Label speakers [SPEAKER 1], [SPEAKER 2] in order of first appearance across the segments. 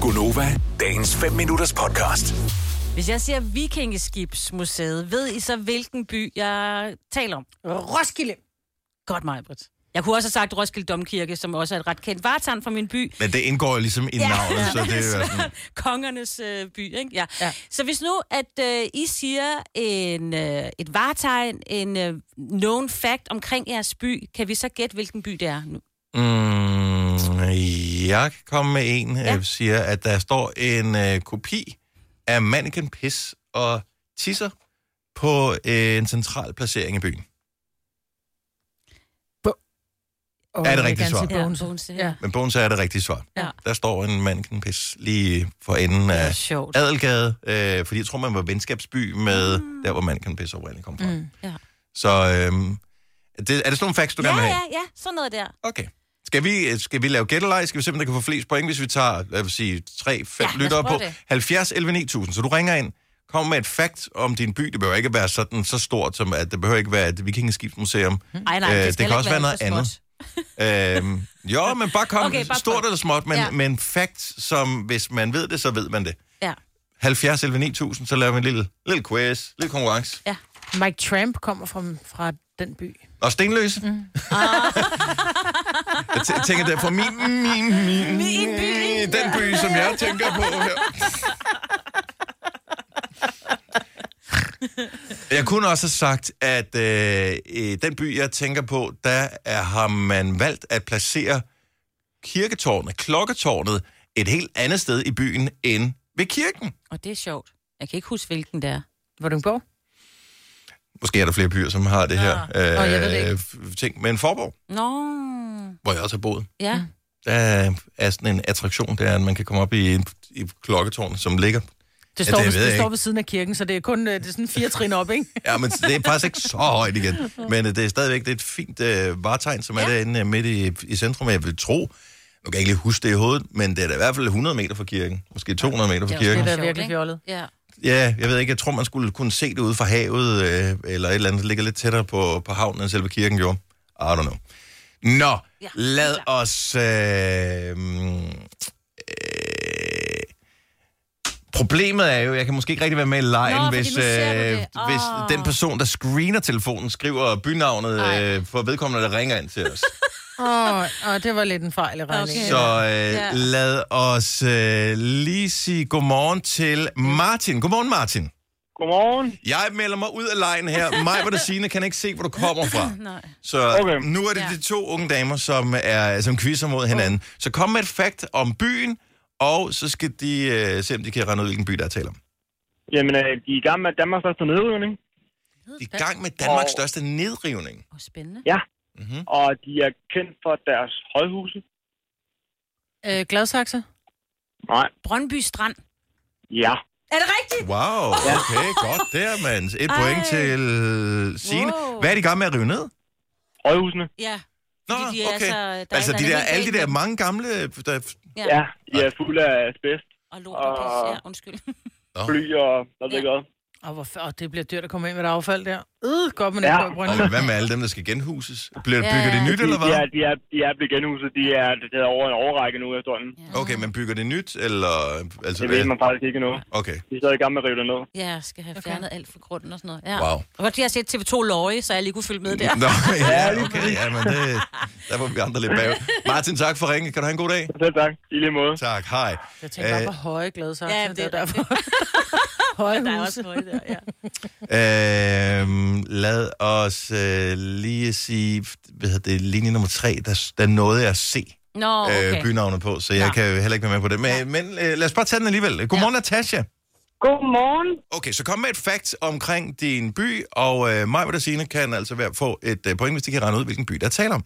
[SPEAKER 1] Gunova, dagens 5 minutters podcast.
[SPEAKER 2] Hvis jeg siger Vikingeskibsmuseet, ved I så, hvilken by jeg taler om?
[SPEAKER 3] Roskilde.
[SPEAKER 2] Godt, Majbrit. Jeg kunne også have sagt Roskilde Domkirke, som også er et ret kendt vartegn fra min by.
[SPEAKER 4] Men det indgår ligesom i navnet, så det er jo sådan,
[SPEAKER 2] Kongernes øh, by, ikke? Ja. ja.
[SPEAKER 3] Ja.
[SPEAKER 2] Så hvis nu, at øh, I siger en, øh, et vartegn, en øh, known fact omkring jeres by, kan vi så gætte, hvilken by det er nu?
[SPEAKER 4] mm, jeg kan komme med en,
[SPEAKER 2] Ja.
[SPEAKER 4] ja. øh, siger, at der står en øh, kopi af mannequin pis og tisser på øh, en central placering i byen.
[SPEAKER 3] Oh,
[SPEAKER 4] Er det rigtigt svar?
[SPEAKER 2] Ja,
[SPEAKER 3] Bones.
[SPEAKER 2] Bogense.
[SPEAKER 3] Ja.
[SPEAKER 4] Men bogen så er det rigtige svar.
[SPEAKER 2] Ja.
[SPEAKER 4] Der står en mannequin pis lige for enden
[SPEAKER 2] Det er
[SPEAKER 4] af
[SPEAKER 2] sjovt.
[SPEAKER 4] Adelgade, øh, fordi jeg tror, man var venskabsby med mm. der, hvor mannequin pis oprindeligt kom fra. Mm.
[SPEAKER 2] Ah. Ja.
[SPEAKER 4] Så øh, det, er det sådan nogle facts, du
[SPEAKER 2] Ja,
[SPEAKER 4] gerne vil have?
[SPEAKER 2] ja, ja. Sådan noget der.
[SPEAKER 4] Okay. Skal vi, øh, skal vi lave gættelej? Skal vi se, om der kan få flest point, hvis vi tager, lad os sige, 3-5
[SPEAKER 2] Ja, lad os
[SPEAKER 4] ja, lyttere
[SPEAKER 2] prøve
[SPEAKER 4] på?
[SPEAKER 2] det.
[SPEAKER 4] 70 11 9000. Så du ringer ind, kom med et fakt om din by. Det behøver ikke være sådan så stort, som at det behøver ikke være et vikingeskibsmuseum.
[SPEAKER 2] Hmm. Ej, nej,
[SPEAKER 4] Øh,
[SPEAKER 2] det,
[SPEAKER 4] det
[SPEAKER 2] skal
[SPEAKER 4] kan
[SPEAKER 2] heller
[SPEAKER 4] også
[SPEAKER 2] ikke
[SPEAKER 4] være noget
[SPEAKER 2] så
[SPEAKER 4] andet.
[SPEAKER 2] småt.
[SPEAKER 4] øhm, jo, men bare kom,
[SPEAKER 2] Okay,
[SPEAKER 4] okay,
[SPEAKER 2] bare
[SPEAKER 4] bare stort
[SPEAKER 2] kom.
[SPEAKER 4] eller småt, men,
[SPEAKER 2] Ja.
[SPEAKER 4] ja. men fakt, som hvis man ved det, så ved man det.
[SPEAKER 2] Ja.
[SPEAKER 4] 70 11 9000, så laver vi en lille, lille quiz, lille konkurrence.
[SPEAKER 3] Mike Tramp kommer fra, fra den by.
[SPEAKER 4] Og stenløse. Mm. jeg tæ- tænker, det er fra min, min, min, min by. Den by, som jeg tænker på her. Jeg kunne også have sagt, at øh, i den by, jeg tænker på, der er, har man valgt at placere kirketårnet, klokketårnet, et helt andet sted i byen end ved kirken.
[SPEAKER 2] Og det er sjovt. Jeg kan ikke huske, hvilken det er.
[SPEAKER 3] Vordingborg?
[SPEAKER 4] Måske er der flere byer, som har det her
[SPEAKER 3] Nå, jeg ved det
[SPEAKER 4] øh,
[SPEAKER 3] ikke.
[SPEAKER 4] f- ting. Men Forborg,
[SPEAKER 2] Nå,
[SPEAKER 4] hvor jeg også har boet,
[SPEAKER 2] ja.
[SPEAKER 4] der er sådan en attraktion, der er, at man kan komme op i, i klokketårnet, som ligger.
[SPEAKER 3] Det står,
[SPEAKER 4] det
[SPEAKER 3] ja, det
[SPEAKER 4] ved
[SPEAKER 3] ved, det
[SPEAKER 4] jeg
[SPEAKER 3] står
[SPEAKER 4] ikke.
[SPEAKER 3] ved siden af kirken, så det er kun øh, det er sådan fire trin op, ikke?
[SPEAKER 4] Ja, men det er faktisk ikke så højt igen. Men øh, det er stadigvæk det er et fint øh, varetegn, som er ja. derinde øh, midt i, i centrum. Jeg vil tro, nu kan jeg ikke lige huske det i hovedet, men det er da i hvert fald 100 meter fra kirken. Måske 200 meter
[SPEAKER 2] Det er
[SPEAKER 4] fra
[SPEAKER 2] også
[SPEAKER 3] Det
[SPEAKER 4] kirken.
[SPEAKER 2] lidt
[SPEAKER 3] er
[SPEAKER 2] sjovt,
[SPEAKER 3] virkelig
[SPEAKER 2] ikke?
[SPEAKER 3] fjollet.
[SPEAKER 2] ja.
[SPEAKER 4] Ja, jeg ved ikke, jeg tror, man skulle kunne se det ude fra havet, øh, eller et eller andet, der ligger lidt tættere på, på havnen, end selve kirken gjorde. I don't know. Nå,
[SPEAKER 2] Ja,
[SPEAKER 4] ja, lad
[SPEAKER 2] helt
[SPEAKER 4] os... Øh, mm, øh, problemet er jo, jeg kan måske ikke rigtig være med i lejen,
[SPEAKER 2] Nå, fordi
[SPEAKER 4] hvis,
[SPEAKER 2] nu
[SPEAKER 4] øh,
[SPEAKER 2] ser du det.
[SPEAKER 4] hvis
[SPEAKER 2] Åh.
[SPEAKER 4] den person, der screener telefonen, skriver bynavnet
[SPEAKER 2] Ej.
[SPEAKER 4] øh, for vedkommende, der ringer ind til os.
[SPEAKER 3] Åh, oh, oh, det var lidt en fejl i regningen.
[SPEAKER 2] Okay.
[SPEAKER 3] Okay.
[SPEAKER 4] Så
[SPEAKER 3] Så...
[SPEAKER 4] øh,
[SPEAKER 2] Ja.
[SPEAKER 4] lad os øh, lige sige godmorgen til Martin. Godmorgen, Martin.
[SPEAKER 5] Godmorgen.
[SPEAKER 4] Jeg melder mig ud af lejen her. Mig, hvor det sigende, kan ikke se, hvor du kommer fra.
[SPEAKER 2] Nej.
[SPEAKER 4] Så
[SPEAKER 5] Okay.
[SPEAKER 4] nu er det
[SPEAKER 2] Ja.
[SPEAKER 4] de to unge damer, som, er, som quizzer mod hinanden. Så kom med et fakt om byen, og så skal de øh, se, om de kan regne ud, hvilken by, der er tale om.
[SPEAKER 5] Jamen, øh, de er i gang med Danmarks største nedrivning,
[SPEAKER 4] De er i gang med Danmarks
[SPEAKER 5] Og-
[SPEAKER 4] største nedrivning.
[SPEAKER 2] Åh, spændende.
[SPEAKER 4] Mm-hmm.
[SPEAKER 5] og de er kendt for deres højhuse.
[SPEAKER 3] Øh, Gladsaxe?
[SPEAKER 5] Nej,
[SPEAKER 2] Brøndby Strand.
[SPEAKER 5] ja.
[SPEAKER 2] Er det rigtigt?
[SPEAKER 4] Wow, okay, godt der, mand. Et point til øh, Signe.
[SPEAKER 2] Wow.
[SPEAKER 4] Hvad er de i gang med at rive ned?
[SPEAKER 5] Højhusene,
[SPEAKER 2] Ja.
[SPEAKER 4] Nå,
[SPEAKER 2] Fordi de er
[SPEAKER 4] okay.
[SPEAKER 2] så- der er
[SPEAKER 4] altså,
[SPEAKER 2] et
[SPEAKER 4] de
[SPEAKER 2] eller
[SPEAKER 4] der,
[SPEAKER 2] andet
[SPEAKER 4] alle de
[SPEAKER 2] galt
[SPEAKER 4] der
[SPEAKER 2] med
[SPEAKER 4] mange gamle... Der,
[SPEAKER 2] Ja.
[SPEAKER 5] ja. De er fulde af asbest,
[SPEAKER 2] Og lort og pis. Ja, undskyld.
[SPEAKER 5] fly og hvad ved jeg
[SPEAKER 3] Åh, hvor f- åh, det bliver dyrt at komme ind med et affald der. Øh, godt, man
[SPEAKER 5] Ja.
[SPEAKER 3] ikke går i
[SPEAKER 4] og hvad med alle dem, der skal genhuses? Bliver,
[SPEAKER 2] Ja.
[SPEAKER 4] bygger de nyt,
[SPEAKER 5] de,
[SPEAKER 4] eller hvad?
[SPEAKER 5] de, er, de, er, de er blevet genhuset. De er, det er over en overrække nu efterhånden. Ja.
[SPEAKER 4] Okay, men bygger det nyt, eller... Altså,
[SPEAKER 5] Det ved man faktisk ikke endnu.
[SPEAKER 4] Okay.
[SPEAKER 5] De er stadig i gang med at rive det ned.
[SPEAKER 2] Ja, jeg skal have
[SPEAKER 3] Okay.
[SPEAKER 2] fjernet alt fra grunden og sådan noget. Ja.
[SPEAKER 4] Wow.
[SPEAKER 2] Og godt, jeg har set TV2 Løje, så jeg lige kunne følge med der.
[SPEAKER 4] Nå, ja, okay, ja, men det, der var vi andre lidt bag. Martin, tak for ringen. Kan du have en god dag?
[SPEAKER 5] Selv tak. I lige måde.
[SPEAKER 4] Tak, hej.
[SPEAKER 3] Jeg tænker bare
[SPEAKER 4] Øh,
[SPEAKER 3] på høje Gladsaxe.
[SPEAKER 2] Ja,
[SPEAKER 3] Ja,
[SPEAKER 2] det
[SPEAKER 3] det,
[SPEAKER 2] er
[SPEAKER 3] er derfor. høje
[SPEAKER 2] Der er
[SPEAKER 3] hus.
[SPEAKER 2] også noget der, ja.
[SPEAKER 4] Øhm, lad os øh, lige sige, hvad hedder det, linje nummer tre, der, der nåede jeg at se
[SPEAKER 2] Nå,
[SPEAKER 4] okay.
[SPEAKER 2] okay.
[SPEAKER 4] øh, bynavnet på, så jeg
[SPEAKER 2] Ja.
[SPEAKER 4] ja. kan jo heller ikke være med på det. Men, ja. men øh, lad os bare tage den alligevel. Godmorgen, ja. Natasha.
[SPEAKER 6] Godmorgen.
[SPEAKER 4] Okay, så kom med et fakt omkring din by, og øh, mig og Signe kan altså være, få et øh, point, hvis de kan regne ud, hvilken by der er tale om.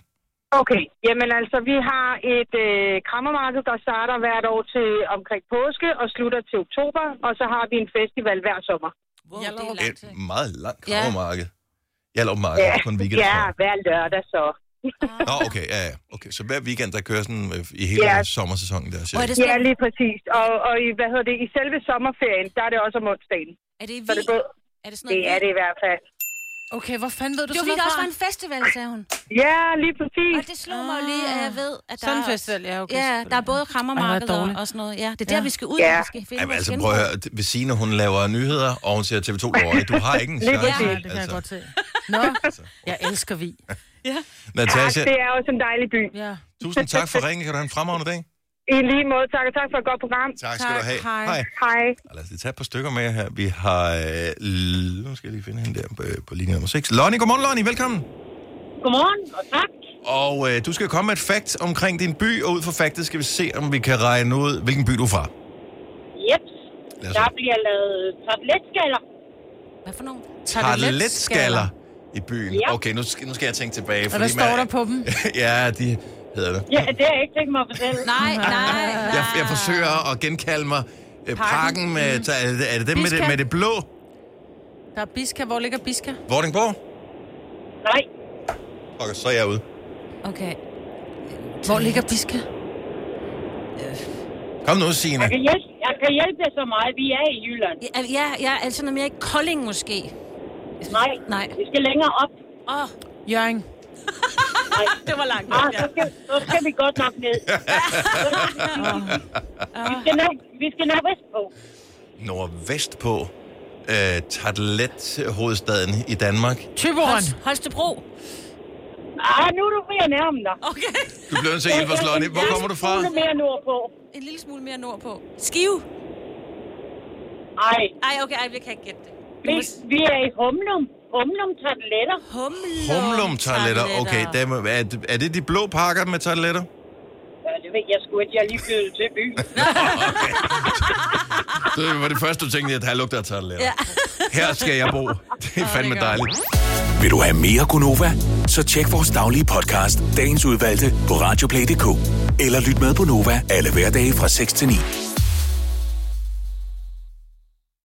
[SPEAKER 6] Okay, jamen altså, vi har et øh, krammermarked, der starter hvert år til omkring påske og slutter til oktober, og så har vi en festival hver sommer.
[SPEAKER 2] Wow, det
[SPEAKER 3] Hjallerup.
[SPEAKER 2] er langt.
[SPEAKER 4] Et
[SPEAKER 2] ikke?
[SPEAKER 4] meget langt
[SPEAKER 2] Ja.
[SPEAKER 4] krammermarked. Jeg lov marked på en weekend.
[SPEAKER 6] ja
[SPEAKER 4] tror jeg.
[SPEAKER 6] hver lørdag så.
[SPEAKER 4] Nå, okay, ja, ja. Okay, så hver weekend, der kører sådan øh, i hele
[SPEAKER 6] Ja.
[SPEAKER 4] yeah. sommersæsonen der,
[SPEAKER 2] Og
[SPEAKER 4] siger
[SPEAKER 2] er det,
[SPEAKER 4] det...
[SPEAKER 6] Ja,
[SPEAKER 2] sådan,
[SPEAKER 6] lige præcis. Og, og i, hvad hedder det, i selve sommerferien, der er det også om onsdagen.
[SPEAKER 2] er det i
[SPEAKER 6] Så det,
[SPEAKER 2] Wien?
[SPEAKER 6] både,
[SPEAKER 2] Er det sådan
[SPEAKER 6] det
[SPEAKER 2] noget?
[SPEAKER 6] er det i hvert fald.
[SPEAKER 3] Okay, hvor fanden ved du
[SPEAKER 2] Det var
[SPEAKER 3] sådan
[SPEAKER 2] fordi, der
[SPEAKER 3] noget
[SPEAKER 2] også var
[SPEAKER 3] fra?
[SPEAKER 2] en festival, sagde hun.
[SPEAKER 6] Ja, lige præcis.
[SPEAKER 2] Og det slog mig jo lige, at jeg ved, at der
[SPEAKER 3] Sådan en
[SPEAKER 2] er-
[SPEAKER 3] festival, ja, okay,
[SPEAKER 2] Ja, der er
[SPEAKER 3] selvfølgelig.
[SPEAKER 2] både krammermarked
[SPEAKER 3] Ej, hvor er det
[SPEAKER 2] og,
[SPEAKER 3] dårligt.
[SPEAKER 2] og sådan noget. Ja, det er der,
[SPEAKER 3] Ja.
[SPEAKER 2] vi skal ud.
[SPEAKER 6] Ja.
[SPEAKER 2] Vi skal finde
[SPEAKER 4] Jamen,
[SPEAKER 2] vores
[SPEAKER 4] altså,
[SPEAKER 2] genbrug.
[SPEAKER 4] prøv at høre. Vesine, hun laver nyheder, og hun siger TV2 Lorry. Du har ikke en chance. Altså,
[SPEAKER 6] præcis.
[SPEAKER 3] Ja, det kan jeg godt se. Nå, jeg elsker vi.
[SPEAKER 6] Tak,
[SPEAKER 4] Natasha,
[SPEAKER 6] det er også en dejlig by.
[SPEAKER 3] Ja.
[SPEAKER 4] tusind tak for ringen. Kan du have en fremragende dag?
[SPEAKER 6] I lige måde, tak, og tak for et godt program.
[SPEAKER 4] Tak skal
[SPEAKER 3] Tak,
[SPEAKER 4] du have.
[SPEAKER 3] hej.
[SPEAKER 6] Hej.
[SPEAKER 4] Og Lad os lige tage et par stykker med her. Vi har... Øh, l- nu skal jeg lige finde hende der på, øh, på linje nummer 6. Lonnie, godmorgen Lonnie, velkommen.
[SPEAKER 6] Godmorgen, og tak.
[SPEAKER 4] Og øh, du skal komme med et fakt omkring din by, og ud fra faktet skal vi se, om vi kan regne ud, hvilken by du er fra.
[SPEAKER 6] Yep.
[SPEAKER 4] Lad os
[SPEAKER 6] Der
[SPEAKER 4] se.
[SPEAKER 6] bliver lavet tabletskaller.
[SPEAKER 2] Hvad for nogen?
[SPEAKER 4] Tarteletskaller i byen.
[SPEAKER 6] Ja.
[SPEAKER 4] Okay, nu skal, nu skal jeg tænke tilbage.
[SPEAKER 3] Og hvad står der på dem?
[SPEAKER 4] ja, de hedder det.
[SPEAKER 6] Ja, det har jeg ikke tænkt mig at fortælle.
[SPEAKER 2] Nej, nej, nej.
[SPEAKER 4] Jeg, jeg forsøger at genkalde mig. Parken, parken med, ta- er det- er det dem med det,
[SPEAKER 3] Biska.
[SPEAKER 4] med det blå?
[SPEAKER 3] Der er Biska. Hvor ligger Biska?
[SPEAKER 4] Vordingborg?
[SPEAKER 6] Nej.
[SPEAKER 4] Okay, så er jeg ude.
[SPEAKER 2] Okay.
[SPEAKER 3] Hvor ligger Biska?
[SPEAKER 4] Kom nu, Signe.
[SPEAKER 6] Jeg kan, hjælpe, jeg kan hjælpe jer så meget. Vi er i Jylland.
[SPEAKER 2] Ja, al- Ja, ja, altså noget mere i Kolding måske.
[SPEAKER 6] Nej,
[SPEAKER 2] Nej.
[SPEAKER 6] vi skal længere op.
[SPEAKER 2] Åh, oh,
[SPEAKER 3] Jørgen.
[SPEAKER 2] det var langt.
[SPEAKER 6] Ah,
[SPEAKER 2] nok,
[SPEAKER 6] så,
[SPEAKER 2] Ja.
[SPEAKER 6] skal, så skal vi godt nok ned. vi, skal nok, vi skal nok vestpå.
[SPEAKER 4] Nordvest på øh, Tartelet-hovedstaden i Danmark.
[SPEAKER 3] Tyborgen.
[SPEAKER 2] Holst- Holstebro.
[SPEAKER 6] Ah, nu er du mere nærme dig.
[SPEAKER 2] Okay.
[SPEAKER 4] Du bliver nødt til at hjælpe os, Lonnie. Hvor kommer du fra?
[SPEAKER 6] Jeg er mere nordpå.
[SPEAKER 2] En lille smule mere nordpå. Skive.
[SPEAKER 6] Ej,
[SPEAKER 2] Ej, okay, ej, jeg kan ikke gætte det. Vi
[SPEAKER 6] vi,
[SPEAKER 2] må s-
[SPEAKER 6] vi er i Humlum. Humlum tabletter.
[SPEAKER 2] Humlum.
[SPEAKER 4] Humlum-tarteletter. Okay, dem, er, er det de blå pakker med tarteletter?
[SPEAKER 6] Ja, det ved jeg sgu ikke. Jeg er lige flyttet til byen.
[SPEAKER 4] Det var det første, du tænkte, at her lugter af tarteletter. Ja. Her skal jeg bo. Det er fandme dejligt.
[SPEAKER 1] Vil du have mere Gunova? Så tjek vores daglige podcast, dagens udvalgte, på radioplay.dk. Eller lyt med på Nova alle hverdage fra 6 til 9.